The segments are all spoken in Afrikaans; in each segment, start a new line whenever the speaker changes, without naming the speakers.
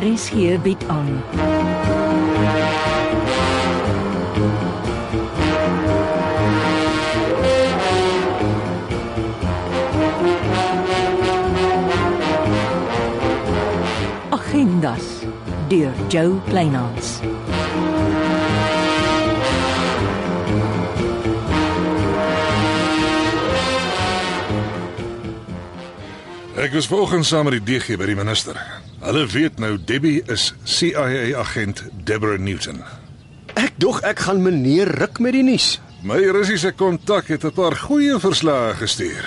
RSG bied aan. Agendas deur Jo Kleinhans.
Ek was vanoggend saam met die DG by die minister. Hulle weet nou Debbie is CIA agent Deborah Newton.
Ek dog ek gaan meneer ruk met die nuus.
My Russiese kontak het 'n paar goeie verslae gestuur.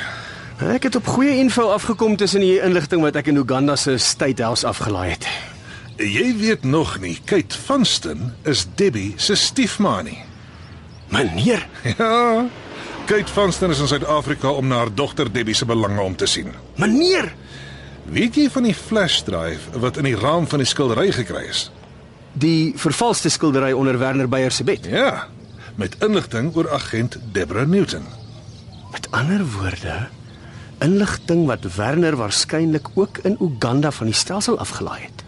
Ek het op goeie info afgekom tussen die inligting wat ek in Uganda se State House afgelaai het.
Jy weet nog nie, Kate Vanston is Debbie se stiefma nie.
Meneer,
Ja. Kate Vanston is in Suid-Afrika om na haar dogter Debbie se belange om te sien.
meneer,
Weet jy van die flashdraai wat in die raam van die skildery gekry is?
die vervalste skildery onder Werner Beyer se bed.
Ja, met inligting oor agent Deborah Newton.
Met ander woorde, inligting wat Werner waarskynlik ook in Uganda van die stelsel afgelaai het.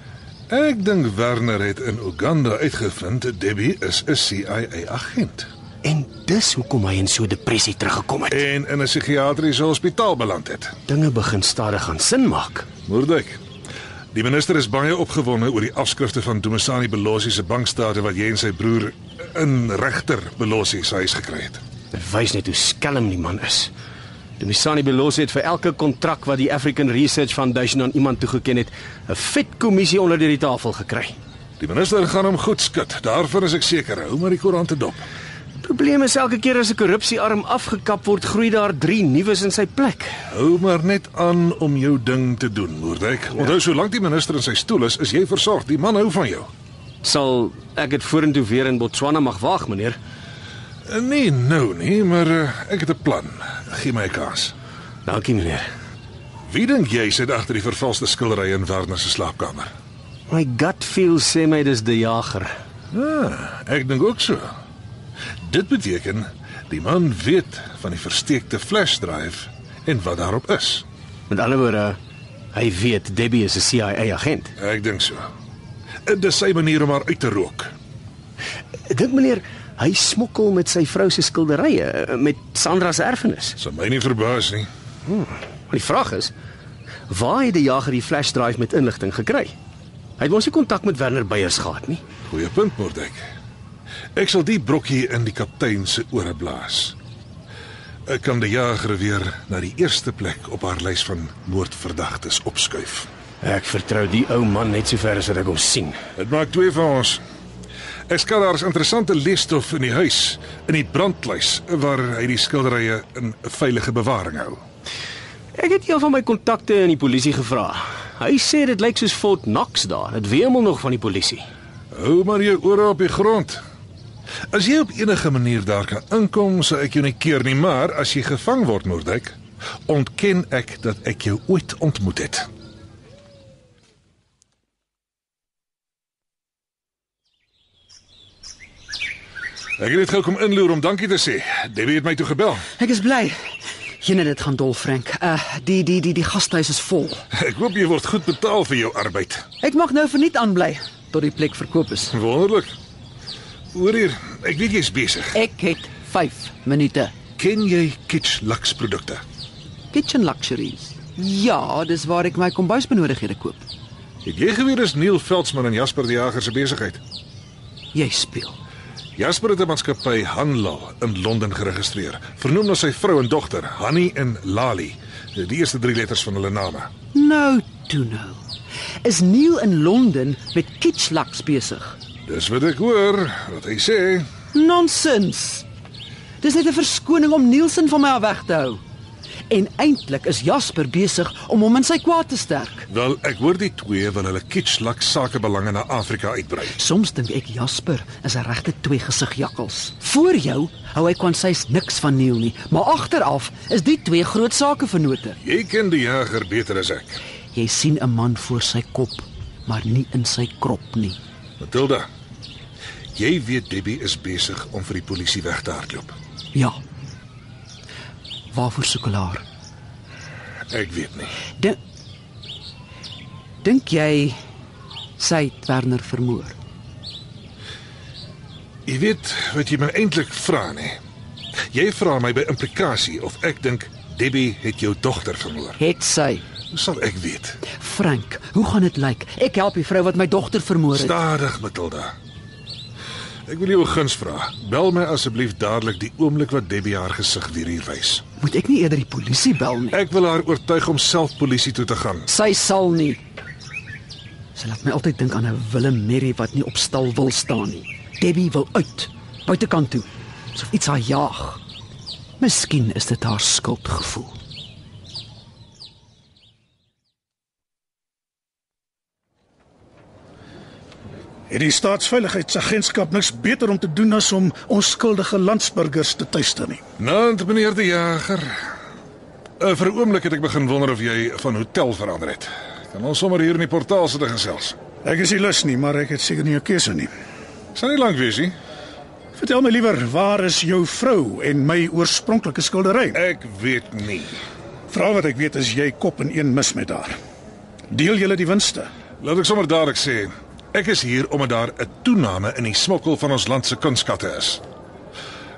Ek dink Werner het in Uganda uitgevind Debbie is 'n CIA agent
En dis hoekom hy in so depressie teruggekom het.
en in 'n psigiatriese hospitaal beland het.
Dinge begin stadig aan sin maak.
Moerdijk. Die minister is baie opgewonde oor die afskrifte van Dumisani Belosi se bankstate wat jy en sy broer in regter Belosi se huis gekry het.
Dit wys net hoe skelm die man is. Dumisani Belosi het vir elke kontrak wat die African Research Foundation aan iemand toegeken het, 'n vet kommissie onder deur die tafel gekry.
Die minister gaan hom goed skud. Daarvan is ek seker. Hou maar die koerante dop.
Probleem is elke keer as 'n korrupsiearm afgekap word, groei daar 3 nuus in sy plek.
Hou maar net aan om jou ding te doen, Moerdijk. Onthou solank die minister in sy stoel is, is jy versorg. Die man hou van jou.
Sal ek dit vorentoe weer in Botswana mag waag, meneer?
Nee, nou nie, maar eh, ek het 'n plan. Gee my 'n kans.
Dankie, meneer.
Wie dink jy sit agter die vervalste skildery in Werner se slaapkamer?
My gut feel sê my dis die jager.
Ah, ek dink ook so. Dit beteken die man weet van die versteekte flash drive en wat daarop is.
Met ander woorde, hy weet Debbie is 'n CIA agent.
Ek dink so. Eh, Dis sy manier om haar uit te rook.
Dink meneer, hy smokkel met sy vrou se skilderye met Sandra se erfenis.
Sal my nie verbaas nie.
Maar die vraag is, waar het die jager die flash drive met inligting gekry? Hy het mos nie kontak met Werner Beyers gehad nie.
Goeie punt, Mordek. Ek sal die brokkie in die kaptein se ore blaas. Ek kan die jager weer na die eerste plek op haar lys van moordverdagtes opskuif.
Ek vertrou die ou man net so ver as wat ek hom sien.
Dit maak twee van ons. Ek skat daar's interessante lesstof in die huis, in die brandlys waar hy die skilderye in veilige bewaring hou.
Ek het een van my kontakte in die polisie gevra. Hy sê dit lyk soos Fort Knox daar. Dit wemel nog van die polisie.
Hou maar jou ore op die grond. As jy op enige manier daar kan inkom, sal ek jou nie keer nie, maar as jy gevang word, Moordwyk, ontken ek dat ek jou ooit ontmoet het. Ek het net gou kom inloer om dankie te sê. Debbie het my toe gebel.
Ek is bly. Jene dit gaan dol, Frank. Uh die die die die gashuis is vol.
Ek hoop jy word goed betaal vir jou arbeid.
Ek mag nou verniet aanbly tot die plek verkoop is.
Wonderlik. Hoor hier, ek weet jy's besig.
Ek het 5 minute.
Ken jy Kitsch Lux produkte?
Kitchen luxuries. Ja, dis waar ek my kombuisbenodighede koop.
Het jy geweet dis Neil Veldsmann en Jasper die Jager se besigheid?
Jy speel.
Jasper het 'n maatskappy Hanlal in Londen geregistreer, vernoem na sy vrou en dogter, Hanni en Lali, die eerste drie letters van hulle name.
Nou toe nou. Is Neil in Londen met kitchen lux besig.
Dis wat ek hoor, wat hy sê.
Nonsens. Dis net 'n verskoning om Nielsen van my af weg te hou. En eintlik is Jasper besig om hom in sy kwaad te sterk.
Wel, ek hoor die twee wil hulle Kitsch Lux sakebelange na Afrika uitbrei.
Soms dink ek Jasper is 'n regte twee gesig jakkals. Voor jou hou hy kon sy's niks van Neil nie, maar agteraf is die twee groot sake vennote.
Jy ken die Jager beter as ek.
Jy sien 'n man voor sy kop, maar nie in sy krop nie.
Matilda, jy weet Debbie is besig om vir die polisie weg te hardloop.
Ja. Waarvoor soek hulle haar?
Ek weet nie.
Dink Dink jy Sy het Werner vermoor.
Jy weet wat jy my eintlik vra nê. Jy vra my by implikasie of ek dink Debbie het jou dogter vermoor.
Het sy.
Hoe sal ek weet?
Frank, hoe gaan dit lyk? Ek help die vrou wat my dogter vermoor het.
Stadig, Matilda. Ek wil jou 'n guns vra. Bel my asseblief dadelik die oomblik wat Debbie haar gesig weer hier wys.
Moet ek nie eerder die polisie bel nie?
Ek wil haar oortuig om self polisie toe te gaan.
Sy sal nie. Sy laat my altyd dink aan 'n Willem Merrie wat nie op stal wil staan nie. Debbie wil uit, buitekant toe, asof iets haar jaag. Miskien is dit haar skuldgevoel.
Het die staatsveiligheidsagentskap niks beter om te doen as om onskuldige landsburgers te tuister nie.
Nant meneer die jager. Eh, vir 'n oomblik het ek begin wonder of jy van hotel verander het. Kan ons sommer hier in die portaal sit en gesels.
Ek is nie lus nie, maar ek het seker nie 'n keuse nie.
Sal nie lank wees nie.
Vertel my liewer, waar is jou vrou en my oorspronklike skildery?
Ek weet nie.
Vra wat ek weet is jy kop in een mis met haar. Deel julle die winste.
Laat ek sommer dadelik sê, ek is hier omdat daar 'n toename in die smokkel van ons land se kunskatte is.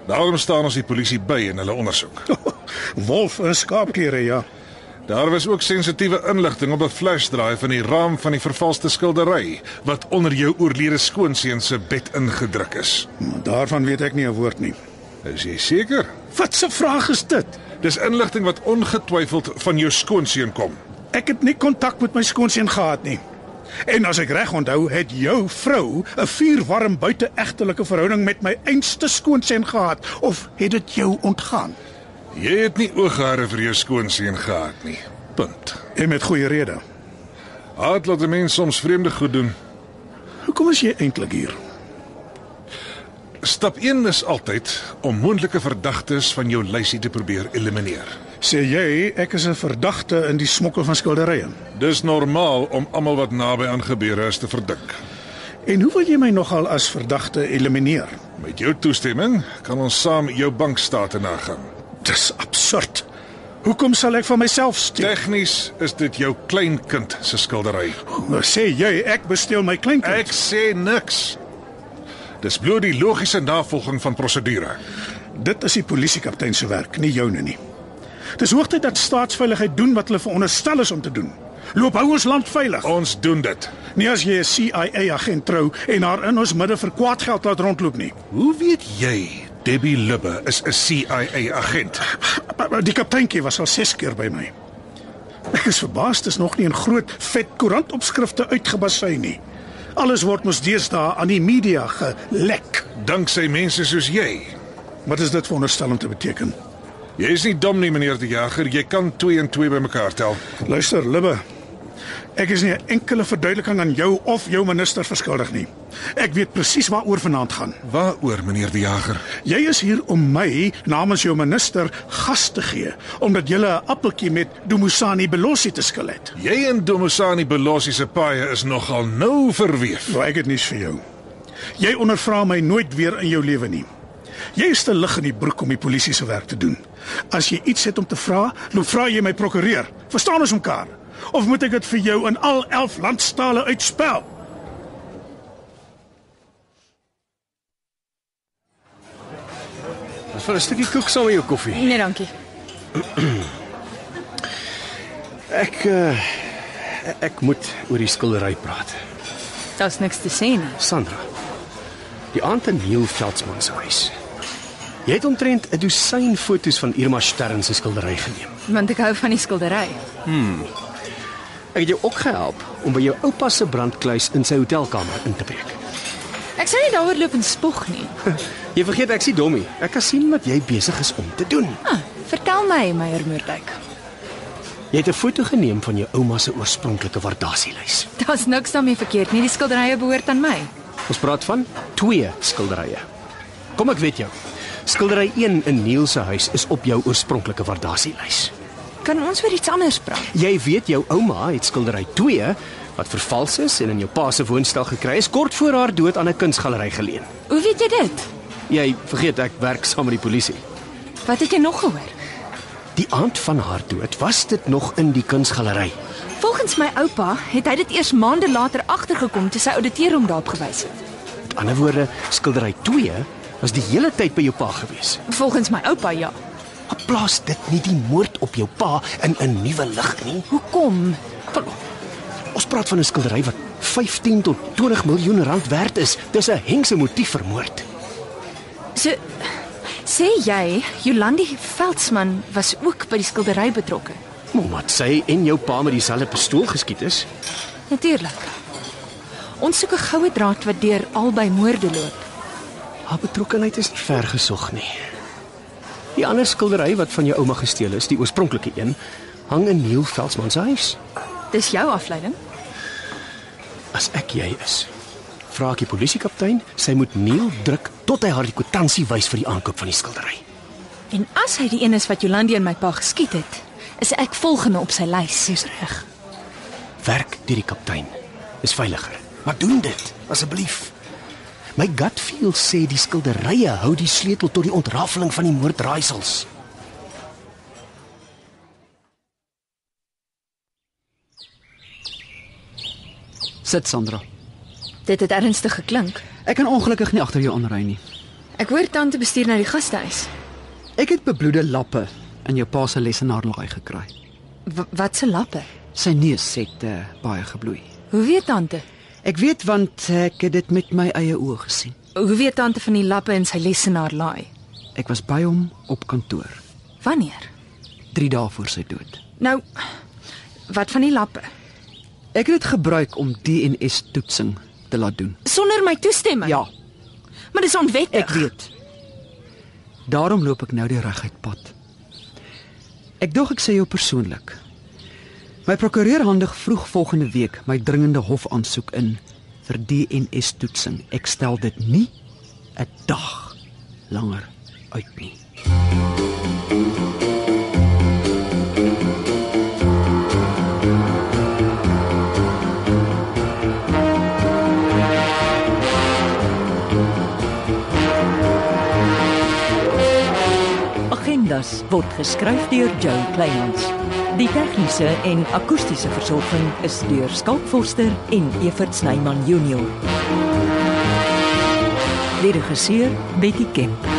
Daarom staan ons die polisie by in hulle ondersoek.
Wolf in skaapklere, ja.
Daar was ook sensitiewe inligting op 'n flashdraai van die raam van die vervalste skildery wat onder jou oorlede skoonseun se bed ingedruk is.
Maar daarvan weet ek nie 'n woord nie.
Is jy seker?
Wat 'n vraag is dit?
Dis inligting wat ongetwyfeld van jou skoonseun kom.
Ek het nie kontak met my skoonseun gehad nie. En as ek reg onthou, het jou vrou 'n vuurwarm buiteegtelike verhouding met my einste skoonseun gehad of het dit jou ontgaan?
Jy het nie ooghare vir jou skoonseun gehad nie. Punt.
En met goeie rede.
Haat laat 'n mens soms vreemde goed doen.
Hoekom is jy eintlik hier?
Stap 1 is altyd om moontlike verdagtes van jou lysie te probeer elimineer.
Sê jy ek is 'n verdagte in die smokkel van skilderye?
Dis normaal om almal wat naby aan gebeure is te verdink.
En hoe wil jy my nogal as verdagte elimineer?
Met jou toestemming kan ons saam jou bankstate nagaan.
Dis absurd. Hoekom sal ek van myself steel?
Tegnies is dit jou kleinkind se skildery.
Sê jy ek besteel my kleinkind?
Ek sê niks. Dis bloot die logiese navolging van prosedure.
Dit is die polisiekaptein se werk, nie joune nie. Dis hoogtyd dat staatsveiligheid doen wat hulle veronderstel is om te doen. Loop hou ons land veilig.
Ons doen dit.
Nie as jy 'n CIA agent trou en haar in ons midde vir kwaad geld laat rondloop nie.
Hoe weet jy Debbie Lubbe is 'n CIA agent?
Maar- maar Die kapteintjie was al 6 keer by my. Ek is verbaas dis nog nie in groot vet koerantopskrifte uitgebasy nie. Alles word mos deesdae aan die media gelek.
Danksy mense soos jy.
Wat is dit veronderstel om te beteken?
Jy is nie dom nie, meneer die Jager. Jy kan 2 en 2 bymekaar tel.
Luister, Libbe. Ek is nie 'n enkele verduideliking aan jou of jou minister verskuldig nie. Ek weet presies waaroor vanaand gaan.
Waaroor, meneer die Jager?
Jy is hier om my namens jou minister gas te gee omdat jy 'n appeltjie met Dumusani Belosi te skil het.
Jy en Domosani Belossi se paai is nogal nou verweef.
Nou ek het nuus vir jou. Jy ondervra my nooit weer in jou lewe nie. Jy is te lig in die broek om die polisie se werk te doen. As jy iets het om te vra, loop vra jy my prokureur. Verstaan ons mekaar? Of moet ek dit vir jou in al 11 landstale uitspel?
Vir 'n stukkie koek saam met jou koffie.
Nee, dankie.
Ek uh, ek moet oor die skildery praat.
Daar's niks te sê nie.
Sandra. Die aand in Neil Veldsmann se huis. Jy het omtrent 'n dosyn foto's van Irma Stern se skildery geneem.
Want ek hou van die skildery.
Ek het jou ook gehelp om by jou oupa se brandkluis in sy hotelkamer in te breek.
Ek sou nie daaroor loop en spog nie.
Jy vergeet ek's nie dom nie. Ek kan sien wat jy besig is om te doen.
Ah, vertel my, Meyer Moerdijk.
Jy het 'n foto geneem van jou ouma se oorspronklike waardasielys.
Daar's niks daarmee verkeerd nie. Die skilderye behoort aan my.
Ons praat van twee skilderye. Kom ek weet jou. Skildery 1 in Neil se huis is op jou oorspronklike waardasielys.
Kan ons oor iets anders praat?
Jy weet jou ouma het skildery 2 wat vervals is en in jou pa se woonstel gekry is kort voor haar dood aan 'n kunsgalery geleen.
Hoe weet jy dit?
Jy vergeet ek werk saam met die polisie.
Wat het jy nog gehoor?
Die aand van haar dood was dit nog in die kunsgalery.
Volgens my oupa het hy dit eers maande later agtergekom toe sy ouditeur hom daarop gewys het.
Met ander woorde, skildery 2 was die hele tyd by jou pa gewees.
Volgens my oupa ja.
Maar plaas dit nie die moord op jou pa in 'n nuwe lig nie.
Hoekom?
Ons praat van 'n skildery wat 15 tot 20 miljoen rand werd is. Dis 'n hengse motief vir moord.
So sê jy Jolandi Veldsmann was ook by die skildery betrokke?
Omdat sy en jou pa met dieselfde pistool geskiet is.
Natuurlik. Ons soek 'n goue draad wat deur albei moorde loop.
Haar betrokkeheid is nie ver gesog nie. Die ander skildery wat van jou ouma gesteel is, die oorspronklike een, hang in Neil Veldsmann se huis.
Dis jou afleiding.
As ek jy is, vra ek die polisiekaptein, sy moet Neil druk tot hy haar die kwitansie wys vir die aankoop van die skildery.
En as hy die een is wat Jolandi en my pa geskiet het, is ek volgende op sy lys. Dis reg.
Werk deur die kaptein. Is veiliger. Maar doen dit asseblief. My gut feel sê die skilderye hou die sleutel tot die ontrafeling van die moordraaisels.
Sit Sandra.
Dit het ernstig geklink.
Ek kan ongelukkig nie agter jou aanry nie.
Ek hoor tante bestuur na die gastehuis.
Ek het bebloede lappe in jou pa se lesenaar laai gekry.
W wat se lappe?
Sy neus het uh, baie gebloei.
Hoe weet tante?
Ek weet want ek het dit met my eie oë gesien.
Hoe weet tante van die lappe in sy lesenaar laai?
Ek was by hom op kantoor,
Wanneer?
3 dae voor sy dood.
Nou, wat van die lappe?
Ek het dit gebruik om DNS-toetsing te laat doen.
Sonder my toestemming.
Ja,
maar dis onwettig.
ek weet. Daarom loop ek nou die reguit pad. Ek dog ek sê jou persoonlik. My prokureur handig vroeg volgende week my dringende hofaansoek in vir DNS-toetsing. Ek stel dit nie 'n dag langer uit nie.
Agendas word geskryf deur Joe Kleinhans. Die tegniese en akoestiese versorging is deur Skalk Forster en Evert Snyman Junior. Lede geseer Betty Kemp.